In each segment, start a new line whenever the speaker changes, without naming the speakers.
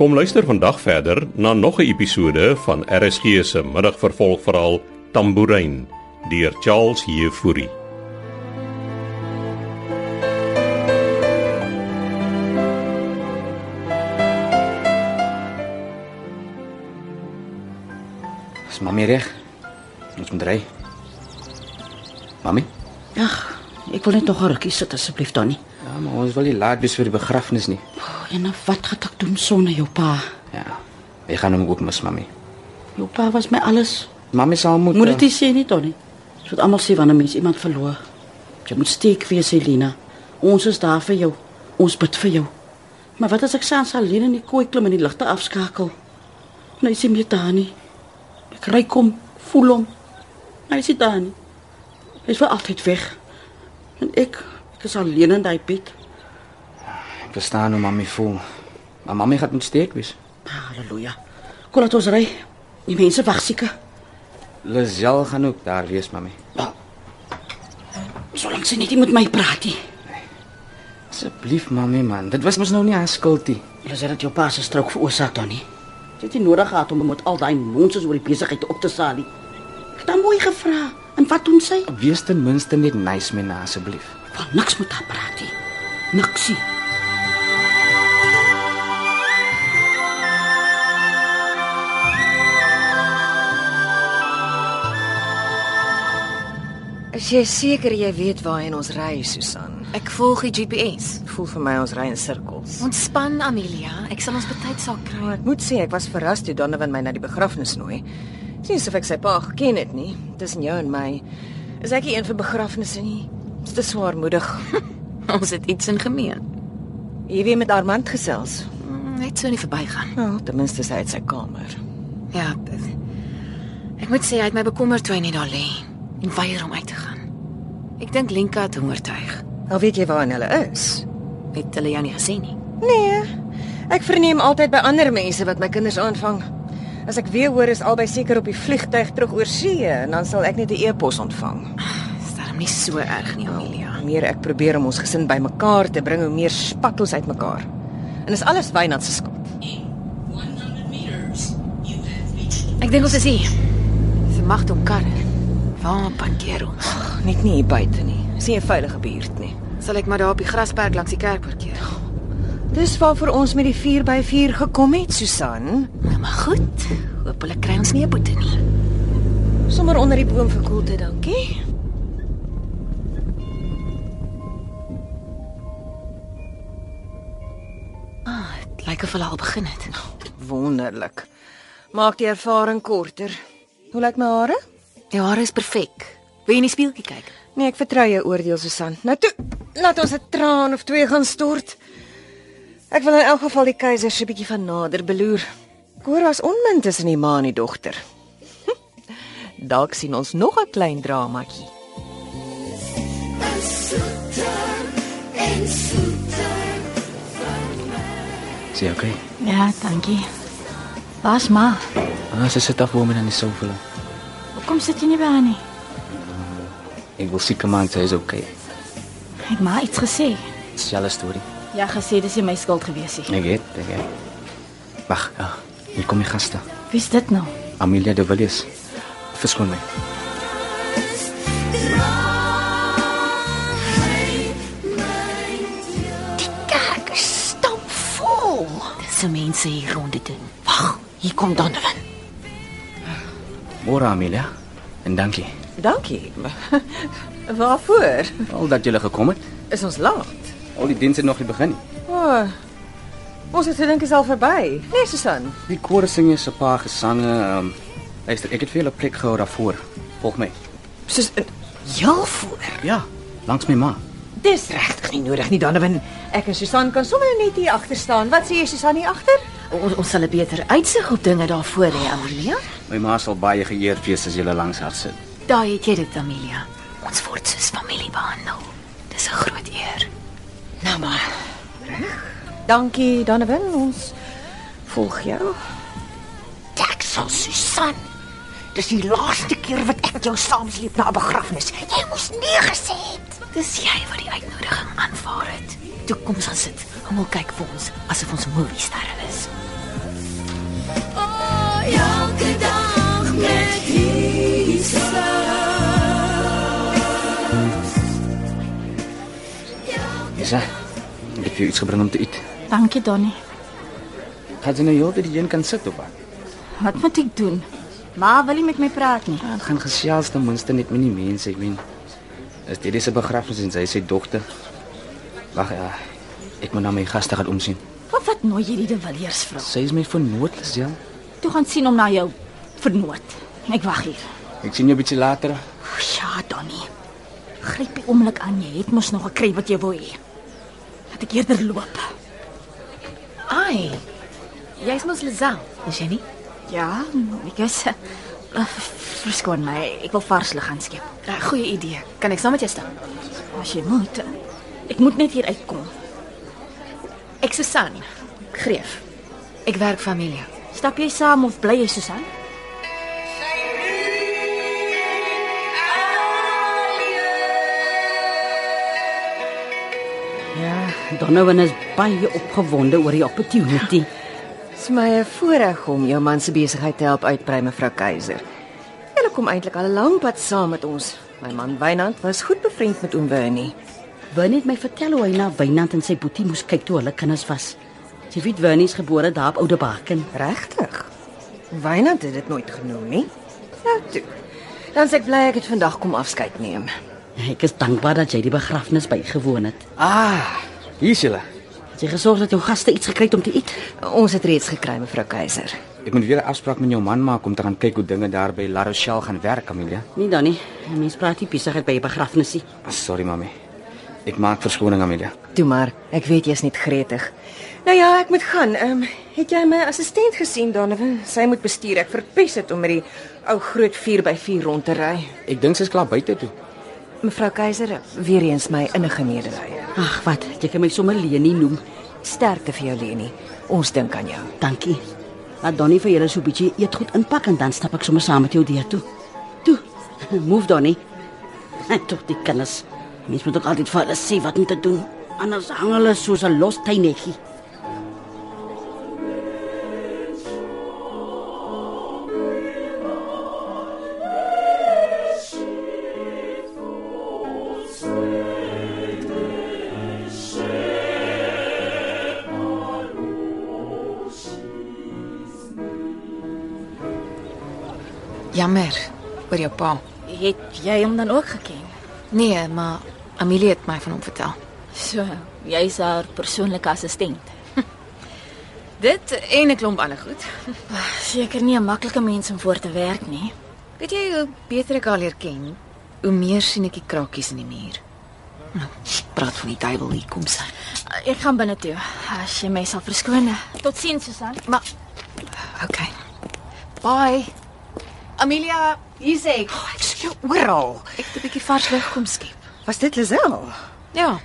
Kom luister vandag verder na nog 'n episode van RSG se middagvervolgverhaal Tambourine deur Charles Heffury.
Is mami reg? Ons moet ry. Mami?
Ag, ek wil net nog 'n rukkie sit asseblief Donnie.
Ja, maar ons wil nie laat wees vir die begrafnis nie.
Oh, en nou wat gaan ek doen sonder jou pa?
Ja. Ek gaan hom ook mis, mami.
Jou pa was my alles.
Mami sal moet eh,
Moet dit nie sê nie Donnie. Ons moet almal sê wanneer mens iemand verloor. Jy moet steek wees Helena. Ons is daar vir jou. Ons bid vir jou. Maar wat as ek saans alleen in die kooi klim en die ligte afskakel? Nou is hy meer daar nie. Ek ry kom, voel hom. Hy is nie daar nie. Hy is vir altyd weg. En ek, ek is alleen in daai bed.
Ek verstaan hoe mami voel. Maar mami gaan moet steek wees.
Halleluja. Kom laat ons ry. Die mense wag seker.
Lisel gaan ook daar wees, mami.
Ja. Solank sy net nie met my praat nie.
Asseblief, mami man. Dit was mos nou nie haar skuld nie.
Hulle sê dat jou pa se strook veroorsaak dan nie. Jy het nie nodig gehad om met al daai nonsens oor die besigheid op te saal nie. Ek het hom mooi gevra. En wat doen sy?
Wees ten minste net nice met haar asseblief.
Van niks moet haar praat nie. Niksie.
Is jy seker jy weet waarheen ons ry, Susan?
Ek volg die GPS.
Voel vir my ons ry in sirkels.
Ontspan, Amelia. Ek sal ons betyds sal kry.
Maar ek moet sê ek was verras toe Donovan my na die begrafnis nooi. Dis nie asof ek sy pa geken het nie. Tussen jou en my is ek nie een vir begrafnisse nie. Dis te swaarmoedig.
Ons het iets in gemeen.
Jy weer met Armand gesels.
Mm, Net so nie verbygaan.
Nou, ten minste is hy uit sy kamer.
Ja. dit- Ek moet sê hy het my bekommer toe hy net daar lê en weier om uit te gaan. Ek dink Lenka het hom oortuig.
Al weet jy waarheen hulle is.
Het hulle jou nie gesê nie?
Nee. Ek verneem altyd by ander mense wat my kinders aanvang. As ek weer hoor is albei seker op die vliegtyg terug oor see en dan sal ek net 'n e-pos ontvang.
Dis darem nie so erg nie, Amelia.
Hoe meer ek probeer om ons gesin bymekaar te bring, hoe meer spat ons uitmekaar. En dis alles Wynand se skuld.
Ek dink ons is hier. Dis 'n magdom karre. Waar parkeer ons?
Ag, Net nie hier buite nie. Dis nie 'n veilige buurt nie.
Sal ek maar daar op die grasperk langs die kerk parkeer?
Dis waarvoor ons met die 4x4 gekom het, Susan.
Nou maar goed. Hoop hulle kry ons nie 'n boete nie.
Sommer onder die boom vir koelte, dankie.
Ah, dit lyk of hulle al begin het.
Wonderlik. Maak die ervaring korter. Hoe lyk my hare?
Jou hare is perfek. Wil jy in die spieeltjie kyk?
Nee, ek vertrou jou oordeel, Susan. Nou toe, laat ons 'n traan of twee gaan stort. Ek wil in elk geval die keiser se bietjie van nader beloer. Ek hoor was onmin tussen die ma en die dogter. Dalk sien ons nog 'n klein dramaatjie.
Sê okay.
Ja, dankie. Waar's ma?
Ah, sy sit afwoon aan die sofa.
Hoekom sit jy nie by haar nie?
Ek wil seker maak sy is okay.
Het ma iets gesê?
Dis julle storie.
Ja, gesê dis nie my skuld gewees nie.
Ek weet, ek weet. Wag, ja. Hier kom die gaste.
Wie's dit nou?
Amelia de Villiers. Verskoon my.
Kyk, stomp vol. Dis se mense hier rond dit. Wag, hier kom Donovan.
Môre Amelia. En dankie.
Dankie. Waarvoor?
Al dat julle gekom het.
Is ons laat?
Al die dienste nog nie begin nie.
O. Oh, ons het gedink is al verby. Nee, Susan.
Die koor sing eers 'n paar gesange. Um, luister, ek het vir julle plek gehou daarvoor. Volg my.
Sus eh, heel voor.
Ja, langs my ma.
Dis regtig nie nodig nie, Donovan. Ek en Susan kan sommer net hier agter staan. Wat sê jy, Susan, hier agter?
Ons ons sal 'n beter uitsig op dinge daarvoor hê, Amelia.
My ma sal baie geëerd wees as julle langs haar sit.
Daai het jy dit, Amelia. Ons word soos familie behandel. Dis 'n groot eer.
Nou maar. Dankie Donovan, ons volg jou.
Ek sal Susan. Dis die laaste keer wat ek jou saamsleep na 'n begrafnis. Jy moes nee gesê het.
Dis jy wat die uitnodiging aanvaar het. Toe kom ons gaan sit. Almal kyk vir ons asof ons movie sterre is.
Oh, elke dag met Jesus.
Isa, ek het jou iets gebring om te eet.
Dankie Donnie.
Gaan jy nou heeltyd hier kan sit op?
Wat moet ek doen? Ma wil nie met my praat nie.
Dan gaan gesels ten minste net met die mense, ek meen. Is dit is 'n begrafnis en sy is sy dogter. Wag ja. Ek moet na my gaste gaan omsien.
Wat wat nooi jy die de Villiers vrou?
Sy is my vernoot, Lisel.
Toe gaan sien om na jou vernoot. Ek wag hier.
Ek sien jou bietjie later.
O, ja, Donnie. Gryp die oomblik aan. Jy het mos nog gekry wat jy wou hê. Laat ek eerder loop.
Ai. Jy's mos Lizel, is jy nie?
Ja, ek is verskoon my. Ek wil vars lig gaan skep.
Ja,
Uh, goeie idee. Kan ek saam met jou stap?
As jy moet. Ek moet net hier uitkom.
Ek Susan. Greef. Ek werk familie.
Stap jy saam of bly jy Susan?
Donovan is baie opgewonde oor die opportunity.
Dis my 'n voorreg om jou man se besigheid te help uitbrei, mevrou Keiser. Julle kom eintlik al 'n lang pad saam met ons. My man Wynand was goed bevriend met oom Bernie.
Winnie het my vertel hoe hy na Wynand en sy boetie moes kyk toe hulle kinders was. Jy weet Winnie is gebore daar op Oude Baken.
Regtig? Wynand het dit nooit genoem nie. Nou toe. Dan sê ek bly ek het vandag kom afskeid neem.
Ek is dankbaar dat jy die begrafnis bygewoon het.
Ah, hier is julle.
Het jy gesorg dat jou gaste iets gekry het om te eet?
Ons het reeds gekry, mevrou Keiser.
Ek moet weer 'n afspraak met jou man maak om te gaan kyk hoe dinge daar by La Rochelle gaan werk, Amelia.
Nee dan nie. 'n Mens praat nie besigheid by 'n begrafnisie.
Sorry, mami. Ek maak verskoning, Amelia.
Toe maar, ek weet jy's net gretig. Nou ja, ek moet gaan. Ehm, um, het jy my assistent gesien, Donovan? Sy moet bestuur. Ek verpes dit om met die ou groot 4x4 rond te ry.
Ek dink sy's klaar buite toe.
Mevrou Keiser, weer eens my innige medelee.
Ag wat, jy kan my sommer Leni noem.
Sterkte vir jou, Leni. Ons dink aan jou.
Dankie. Laat Donnie vir julle so 'n bietjie eetgoed inpak en dan stap ek sommer saam met jou deur toe. Toe. Move Donnie. Tot die kinders. Mens moet ook altyd vir hulle sê wat om te doen. Anders hang hulle soos 'n los tuinnetjie.
Jammer oor jou pa.
Het jy hom dan ook geken?
Nee, maar Amelie het my van hom vertel.
So, jy's haar persoonlike assistent.
Dit en 'n klomp ander goed.
Seker nie 'n maklike mens om voor te werk nie.
Weet jy hoe beter ek haar leer ken, hoe meer sien ek die krakies in die muur. Nou, praat van die duiwel hier kom sy.
Ek gaan binne toe. As jy my sal verskoon. Totsiens Susan.
Maar okay. Bye. Amelia, hier sê ek.
Ek sien jou oral.
Ek het 'n bietjie vars lug kom skep.
Was dit Lisel?
Ja.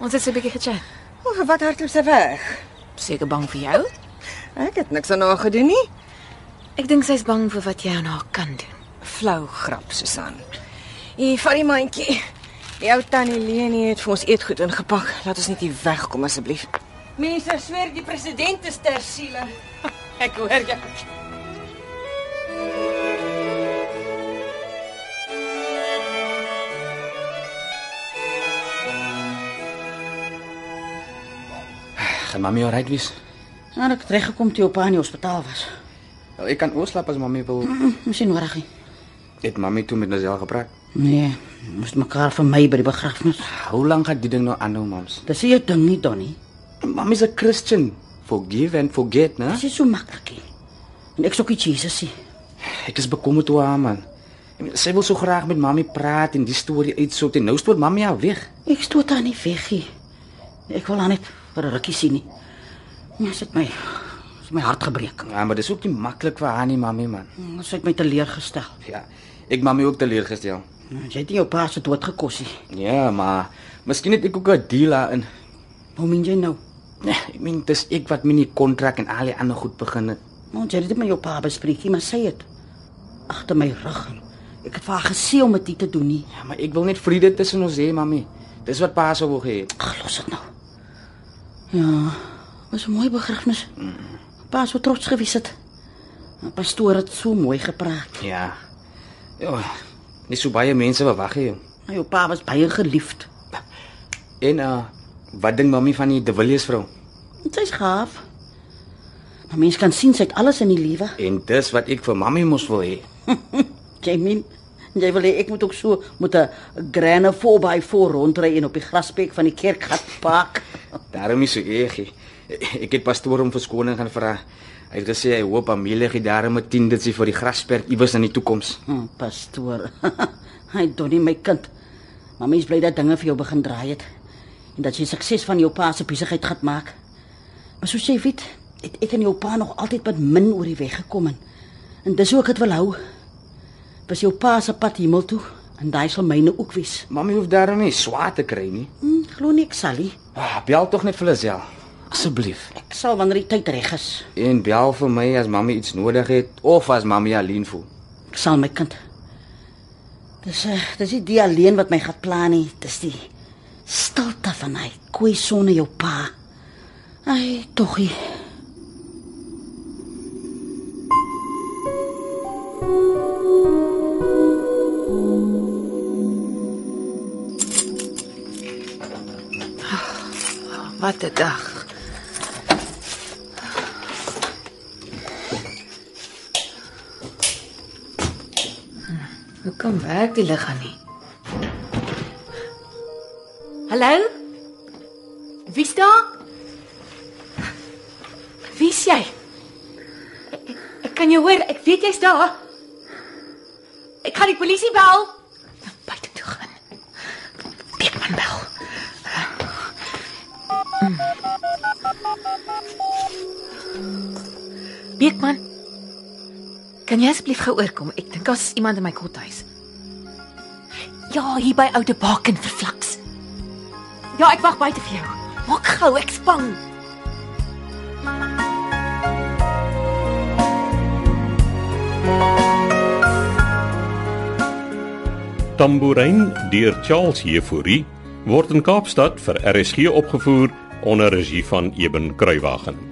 Ons het so 'n bietjie gechat.
O, wat hardloop sy weg?
Seker bang vir jou?
Ek het niks aan haar gedoen nie.
Ek dink sy's bang vir wat jy aan haar kan doen.
Flou grap, Susan. Hier, vat die mandjie. Die ou tannie Leni het vir ons eetgoed ingepak. Laat ons net hier wegkom asseblief. Mense swer die president is ter siele. Ek hoor jou.
Gaan mami alright wees?
Nou ek het reggekom toe op aan die hospitaal was.
Wel, Ek kan oorslap as mami wil.
Moes nie nodig nie.
Het mami toe met Lisel gepraat?
Nee, moes mekaar vir my by die begrafnis.
Hoe lank gaan die ding nou aanhou, mams?
Dis nie jou ding nie, Donnie.
Mami's 'n Christian. Forgive and forget, né?
Dis nie so maklik nie. En ek sokkie Jesus sê.
Ek is bekommerd oor haar man. Ek meen, Sy wil so graag met mami praat en die storie uitsort en nou stoot mami haar weg.
Ek stoot haar nie weg nie. Ek wil haar net vir 'n rukkie sien nie. Ja, sit my sit my hart gebreek.
Ja, maar dis ook nie maklik vir haar nie, mami man.
Dit het my teleurgestel.
Ja. Ek mami ook teleurgestel.
Nou, Jy het nie jou pa se dood gekos nie.
Ja, maar miskien het ek ook 'n deal daarin.
Hoe min jy nou?
Nee, ek meen dis ek wat my nie kontrak en al die ander goed begin het.
Ons het dit met jou pa bespreek, nie, maar sy het agter my rug. en Ek het vir haar gesê om dit nie te doen nie.
Ja, maar ek wil net vrede tussen ons hê, mami. Dis wat pa sou wou hê.
Ag, los dit nou. Ja, was 'n mooi begrafnis. Pa sou trots gewees het. Die pastoor het so mooi gepraat.
Ja. Ja. Nie so baie mense verwag jy.
Maar jou pa was baie geliefd.
En uh wat dink mami van die De Villiers vrou?
En Sy's gaaf. Maar mens kan sien sy het alles in die lewe.
En dis wat ek vir mami mos wil hê.
Jy min jy wil hê ek moet ook so met 'n grane 4x4 rondry en op die grasperk van die kerk gat pak.
Daarom is so eeg. Ek het pastoor om verskoning gaan vra. Hy het gesê hy hoop Amelie gee daarom 'n tiendetjie vir die grasperk iewers in die toekoms.
Hm, pastoor. Hy doen nie my kind. Maar mens bly dat dinge vir jou begin draai het en dat jy sukses van jou pa se besigheid gaan maak. Maar soos jy weet, het ek en jou pa nog altyd met min oor die weg gekom en, en dis hoe ek dit wil hou. Was jou pa se pad hemel toe en daai sal myne ook wees.
Mami hoef daarom nie swaar te kry nie.
Hm, glo nie ek sal nie.
Ah, bel tog net vir Lisel. Asseblief.
Ek sal wanneer die tyd reg is.
En bel vir my as mami iets nodig het of as mami alleen voel.
Ek sal my kind. Dis uh, dis nie die alleen wat my gaan pla nie, dis die stilte van hy koei sonne jou pa. Ai, toggie.
Wat 'n dag. Hm, Hoe kom werk die liggaam nie?
Hallo? Wie's daar? Wie's jy? Ek- ek- Ek kan jou hoor. Ek weet jy's daar. Ek gaan die polisie bel.
Buite toe gaan. Beekman bel. Beekman. Kan jy asseblief gou oorkom? Ek dink daar's iemand in my kothuis.
Ja, hier by Oude Baken vir Flaks. Ja, ek wag buite vir jou. Maak gou, ek span.
Tambourine deur Charles Jefouri word in Kaapstad vir RSG opgevoer onder regie van Eben Kruiwagen.